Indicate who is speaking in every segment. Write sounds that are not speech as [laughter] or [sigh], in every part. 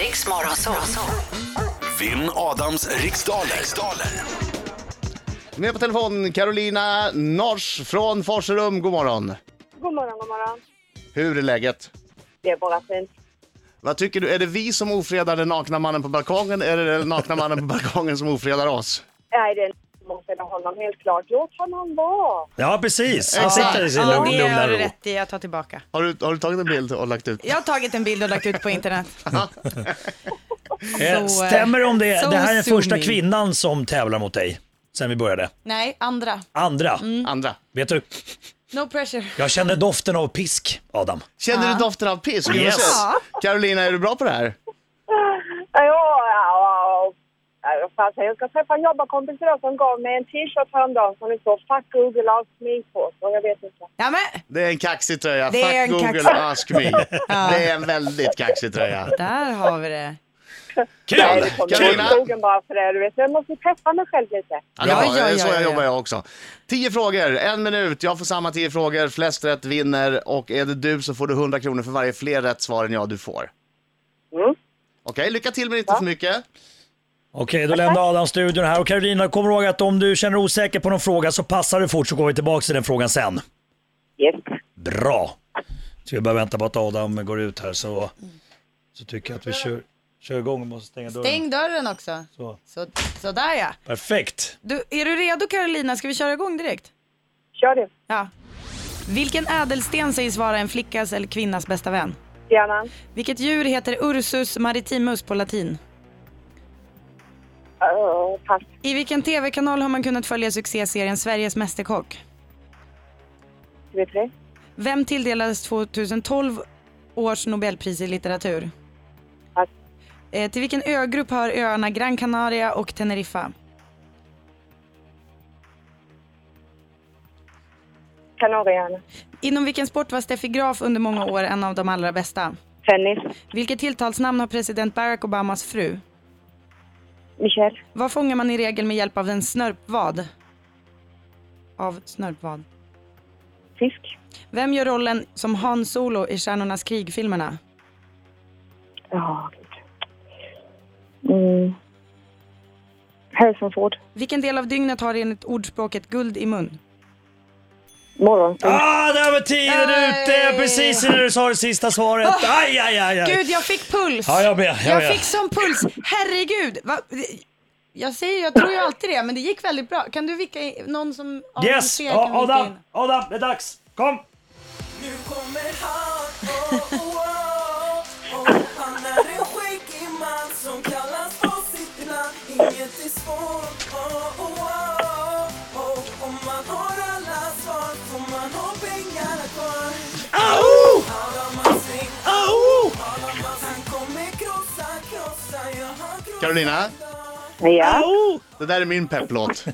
Speaker 1: Riks Morgonzoo.
Speaker 2: Vinn Adams riksdaler. riksdaler.
Speaker 3: Med på telefon Carolina Nors från Forserum. God morgon!
Speaker 4: God morgon, god morgon.
Speaker 3: Hur är läget?
Speaker 4: Det är bara fint.
Speaker 3: Vad tycker du? Är det vi som ofredar den nakna mannen på balkongen eller är det den nakna mannen på balkongen som ofredar oss?
Speaker 4: Nej, det är måste jag honom helt klart. Låt honom vara.
Speaker 5: Ja, precis. Han
Speaker 3: Exakt.
Speaker 5: sitter i sin
Speaker 6: Ja,
Speaker 5: lugn-
Speaker 6: det
Speaker 5: lugna
Speaker 6: har du
Speaker 5: ro.
Speaker 6: rätt i. Jag tar tillbaka.
Speaker 3: Har du, har du tagit en bild och lagt ut?
Speaker 6: Jag har tagit en bild och lagt ut på internet.
Speaker 5: Eh,
Speaker 6: eh,
Speaker 5: Stämmer om det?
Speaker 6: so
Speaker 5: det här är den första
Speaker 6: zooming.
Speaker 5: kvinnan som tävlar mot dig sen vi började.
Speaker 6: [laughs] Nej, andra.
Speaker 5: Andra.
Speaker 6: Mm.
Speaker 3: Andra.
Speaker 5: Vet du,
Speaker 6: No pressure.
Speaker 5: jag känner doften av pisk, Adam.
Speaker 3: Känner du doften av piss? Ska vi
Speaker 5: Yes.
Speaker 3: ses?
Speaker 6: Ja.
Speaker 3: Carolina, är du bra på det här?
Speaker 4: Ja, ja, ja. Vad fan säger Jag Jag ska träffa en jobbarkompis idag som gav mig en t-shirt häromdagen som det står Fuck Google Ask Me på. Så jag vet inte.
Speaker 6: Ja, men,
Speaker 3: Det är en kaxig tröja.
Speaker 6: Det är
Speaker 3: Fuck
Speaker 6: en
Speaker 3: Google,
Speaker 6: kaxig-
Speaker 3: ask me. Det är en väldigt kaxig tröja.
Speaker 6: där har vi det.
Speaker 4: Nej,
Speaker 5: Kul!
Speaker 4: det kommer jag
Speaker 3: Carolina?
Speaker 4: inte skogen bara för det. Du vet, jag måste träffa mig själv lite.
Speaker 3: Ja, det
Speaker 6: Ja,
Speaker 3: var,
Speaker 6: ja,
Speaker 3: det är
Speaker 6: ja,
Speaker 3: så
Speaker 6: ja,
Speaker 3: jag
Speaker 6: ja.
Speaker 3: jobbar jag också. Tio frågor, en minut. Jag får samma tio frågor. Flest rätt vinner och är det du så får du 100 kronor för varje fler rätt svar än jag du får.
Speaker 4: Mm.
Speaker 3: Okej, lycka till men inte för mycket.
Speaker 5: Okej, då lämnar Adam studion här. Och Carolina, kom ihåg att om du känner dig osäker på någon fråga så passar du fort så går vi tillbaka till den frågan sen.
Speaker 4: Yes.
Speaker 5: Bra! Så vi bara vänta på att Adam går ut här så, så tycker jag att vi kör, kör igång. Vi måste stänga dörren.
Speaker 6: Stäng dörren också.
Speaker 5: Så.
Speaker 6: Så, sådär ja.
Speaker 5: Perfekt!
Speaker 6: Du, är du redo Carolina? Ska vi köra igång direkt?
Speaker 4: Kör du.
Speaker 6: Ja. Vilken ädelsten sägs vara en flickas eller kvinnas bästa vän?
Speaker 4: Gärna.
Speaker 6: Vilket djur heter Ursus maritimus på latin?
Speaker 4: Uh, pass.
Speaker 6: I vilken tv-kanal har man kunnat följa succéserien Sveriges Mästerkock?
Speaker 4: Du vet det.
Speaker 6: Vem tilldelades 2012 års Nobelpris i litteratur?
Speaker 4: Pass.
Speaker 6: Eh, till vilken ögrupp hör öarna Gran Canaria och Teneriffa?
Speaker 4: Kanarieöarna.
Speaker 6: Inom vilken sport var Steffi Graf under många år en av de allra bästa?
Speaker 4: Tennis.
Speaker 6: Vilket tilltalsnamn har president Barack Obamas fru?
Speaker 4: Michel.
Speaker 6: Vad fångar man i regel med hjälp av en snörpvad? Av snörpvad.
Speaker 4: Fisk.
Speaker 6: Vem gör rollen som Han Solo i Stjärnornas krig-filmerna?
Speaker 4: Ja, gud. Mm. Harrison Ford.
Speaker 6: Vilken del av dygnet har enligt ordspråket guld i mun?
Speaker 4: Morgonstund.
Speaker 5: Ah, där var tiden
Speaker 6: Nej. Ah.
Speaker 5: ute! Precis innan du sa det sista svaret. Aj, aj, aj, aj.
Speaker 6: Gud, jag fick puls!
Speaker 5: Ja, jag med, jag med.
Speaker 6: fick som puls. Herregud! Va? Jag säger, jag tror ju alltid det, men det gick väldigt bra. Kan du vicka in någon som... av de
Speaker 5: Yes!
Speaker 6: tre
Speaker 5: Ja,
Speaker 6: kan vicka
Speaker 5: Adam,
Speaker 6: in?
Speaker 5: Adam, det är dags! Kom!
Speaker 7: Nu kommer han, oh, oh, oh, oh. Han är en skäggig man som kallas på sitt namn Inget är svårt, oh, oh, oh, oh. Om man har alla svar får man ha pengarna kvar
Speaker 5: Au!
Speaker 7: Adam Alsing,
Speaker 5: Au!
Speaker 7: Adam Alsing kommer krossa, krossa, ja han krossar
Speaker 3: Carolina,
Speaker 4: Ja.
Speaker 5: Au!
Speaker 3: det där är min pepplåt.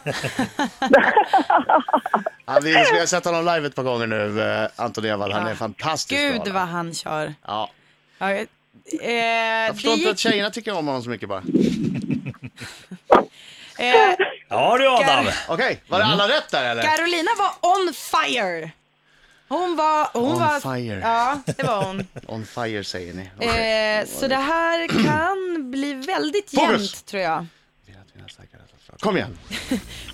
Speaker 3: ja, vi, vi har sett honom live ett par gånger nu, eh, Anton Ewald. Han är fantastisk.
Speaker 6: Gud
Speaker 3: bra.
Speaker 6: vad han kör.
Speaker 3: Ja.
Speaker 6: Ja, eh,
Speaker 3: Jag
Speaker 6: det
Speaker 3: förstår inte att
Speaker 6: gick,
Speaker 3: tjejerna tycker om honom så mycket bara.
Speaker 6: eh,
Speaker 5: Ja du Adam!
Speaker 6: Kar-
Speaker 3: Okej, var
Speaker 6: Mm.
Speaker 3: det alla rätt där eller?
Speaker 6: Carolina var on fire. Hon var... Hon
Speaker 3: On
Speaker 6: var,
Speaker 3: fire.
Speaker 6: Ja, det var
Speaker 5: [laughs]
Speaker 6: hon.
Speaker 3: On fire säger ni. Okej.
Speaker 6: Eh, så det här kan bli väldigt
Speaker 3: Fokus.
Speaker 6: jämnt tror jag.
Speaker 3: Kom igen,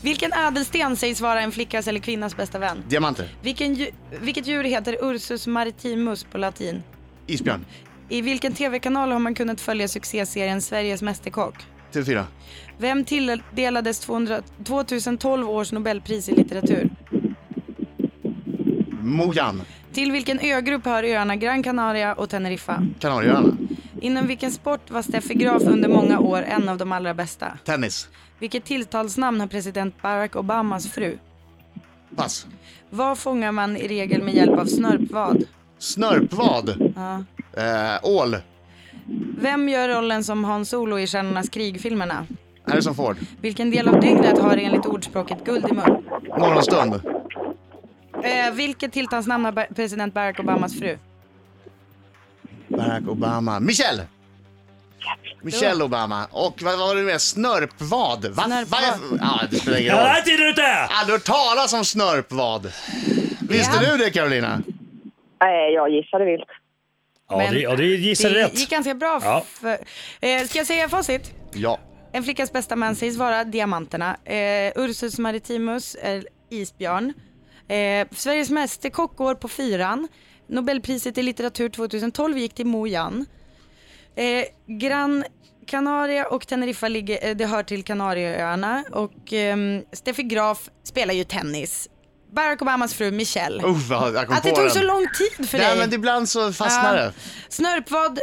Speaker 6: Vilken ädelsten sägs vara en flickas eller kvinnas bästa vän?
Speaker 3: diamanter,
Speaker 6: Vilken, dju- vilket djur heter Ursus maritimus på latin?
Speaker 3: isbjörn,
Speaker 6: I vilken tv-kanal har man kunnat följa succéserien Sveriges Mästerkock?
Speaker 3: TV4,
Speaker 6: Vem tilldelades 200, 2012 års Nobelpris i litteratur?
Speaker 3: Mogan,
Speaker 6: Till vilken ögrupp hör öarna Gran Canaria och Teneriffa?
Speaker 3: Kanarieöarna,
Speaker 6: Inom vilken sport var Steffi Graf under många år en av de allra bästa?
Speaker 3: tennis,
Speaker 6: Vilket tilltalsnamn har president Barack Obamas fru?
Speaker 3: pass,
Speaker 6: Vad fångar man i regel med hjälp av snörpvad?
Speaker 3: snörpvad,
Speaker 6: Ja.
Speaker 3: eh, ål,
Speaker 6: Vem gör rollen som Han Solo i Stjärnornas krig-filmerna?
Speaker 3: Harrison Ford,
Speaker 6: Vilken del av dygnet har enligt ordspråket guld i mun?
Speaker 3: morgonstund,
Speaker 6: Eh, vilket tilltalsnamn har Bar- president Barack Obamas fru?
Speaker 3: Barack Obama, Michelle! Michelle Obama. Och vad vad var det med? Snörpvad? Va?
Speaker 6: Snörpvad.
Speaker 3: Vad är- Ja, det spelar ingen
Speaker 5: Ja, där
Speaker 6: [laughs]
Speaker 3: roll.
Speaker 5: är tiden ute!
Speaker 3: Aldrig hört talas om snörpvad. Visste
Speaker 6: Ja.
Speaker 3: du det Carolina?
Speaker 4: Nej, jag gissade vilt.
Speaker 5: Ja, det- ja, det gissade
Speaker 6: det
Speaker 5: rätt.
Speaker 6: gick ganska bra.
Speaker 5: Ja.
Speaker 6: För, eh, ska jag säga facit?
Speaker 3: Ja.
Speaker 6: En flickas bästa man sägs vara diamanterna. Eh, Ursus maritimus är isbjörn. Eh, Sveriges mästerkock går på fyran. Nobelpriset i litteratur 2012 gick till Mo Yan. Eh, Gran Canaria och Teneriffa ligger, eh, det hör till Kanarieöarna. Och ehm, Steffi Graf spelar ju tennis. Barack Obamas fru Michelle.
Speaker 3: Uff, jag jag kom
Speaker 6: Att
Speaker 3: på
Speaker 6: det tog
Speaker 3: den.
Speaker 6: så lång tid för
Speaker 3: Nej,
Speaker 6: dig.
Speaker 3: men ibland så fastnar
Speaker 6: Ja.
Speaker 3: det.
Speaker 6: Snörpvad,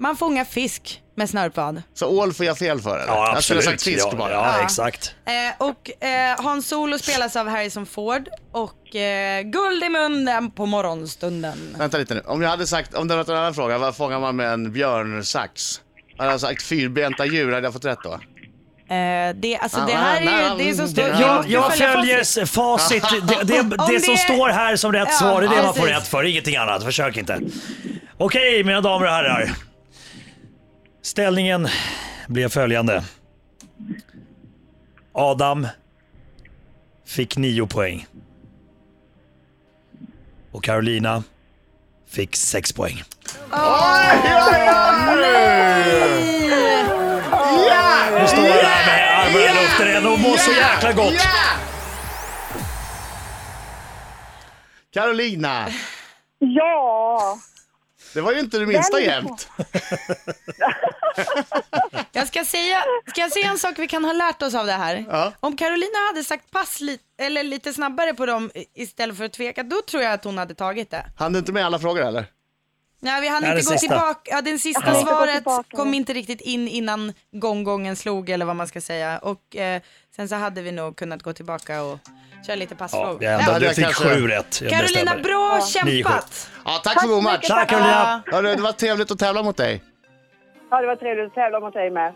Speaker 6: man fångar fisk med snörpvad.
Speaker 3: Så ål får jag fel för eller?
Speaker 5: Ja,
Speaker 3: jag skulle
Speaker 5: absolut.
Speaker 3: ha sagt fisk
Speaker 5: ja,
Speaker 3: bara.
Speaker 5: Ja,
Speaker 6: Ja.
Speaker 5: exakt.
Speaker 6: Eh, och eh, Hans Solo spelas av Harrison Ford och eh, guld i munnen på morgonstunden.
Speaker 3: Vänta lite nu. Om jag hade sagt, om det varit en annan fråga, vad fångar man med en björnsax? Hade jag sagt fyrbenta djur, hade jag fått rätt då?
Speaker 6: Eh, det, alltså,
Speaker 3: Ah,
Speaker 6: det här
Speaker 3: nej,
Speaker 6: är ju
Speaker 3: nej,
Speaker 6: det är så
Speaker 3: det-
Speaker 6: stort.
Speaker 3: Ja,
Speaker 5: Jag,
Speaker 3: du
Speaker 5: jag
Speaker 6: följer
Speaker 5: följer
Speaker 6: facit.
Speaker 5: s- facit. Det,
Speaker 6: [laughs]
Speaker 5: det, det,
Speaker 6: det-
Speaker 5: som står här som rätt
Speaker 6: Ja,
Speaker 5: svar, det är det man får
Speaker 6: precis.
Speaker 5: rätt för. Ingenting annat. Försök inte. Okej, mina damer och herrar. Ställningen blev följande. Adam fick nio poäng. Och Carolina fick sex poäng. Nu står han här med armarna i luften igen och mår så jäkla gott.
Speaker 3: Carolina,
Speaker 4: Ja!
Speaker 3: det var ju inte det minsta
Speaker 4: Den är
Speaker 3: jämt.
Speaker 6: Jag ska säga, ska jag säga en sak vi kan ha lärt oss av det här?
Speaker 3: Ja.
Speaker 6: Om Carolina hade sagt pass li, eller lite snabbare på dem i- istället för att tveka, då tror jag att hon hade tagit det.
Speaker 3: Hann du inte med alla frågor eller?
Speaker 6: Nej, vi hann
Speaker 5: Ja,
Speaker 6: inte
Speaker 5: den sista.
Speaker 6: gå tillbaka. Ja, den sista
Speaker 4: Jag hann inte gå
Speaker 6: svaret
Speaker 4: tillbaka.
Speaker 6: kom inte riktigt in innan gånggången slog eller vad man ska säga. Och eh, sen så hade vi nog kunnat gå tillbaka och köra lite
Speaker 5: Ja,
Speaker 6: passfrågor.
Speaker 5: jag
Speaker 6: Ja.
Speaker 5: ändrade. Jag fick
Speaker 3: kanske-
Speaker 5: sju rätt. Ja, det
Speaker 6: Carolina,
Speaker 5: stämmer.
Speaker 6: bra
Speaker 5: Nio, sju.
Speaker 6: kämpat!
Speaker 3: Ja, tack för god match.
Speaker 5: Tack Carolina.
Speaker 3: Hörru, det var trevligt att tävla mot dig.
Speaker 4: Ja, det var trevligt att tävla mot dig med.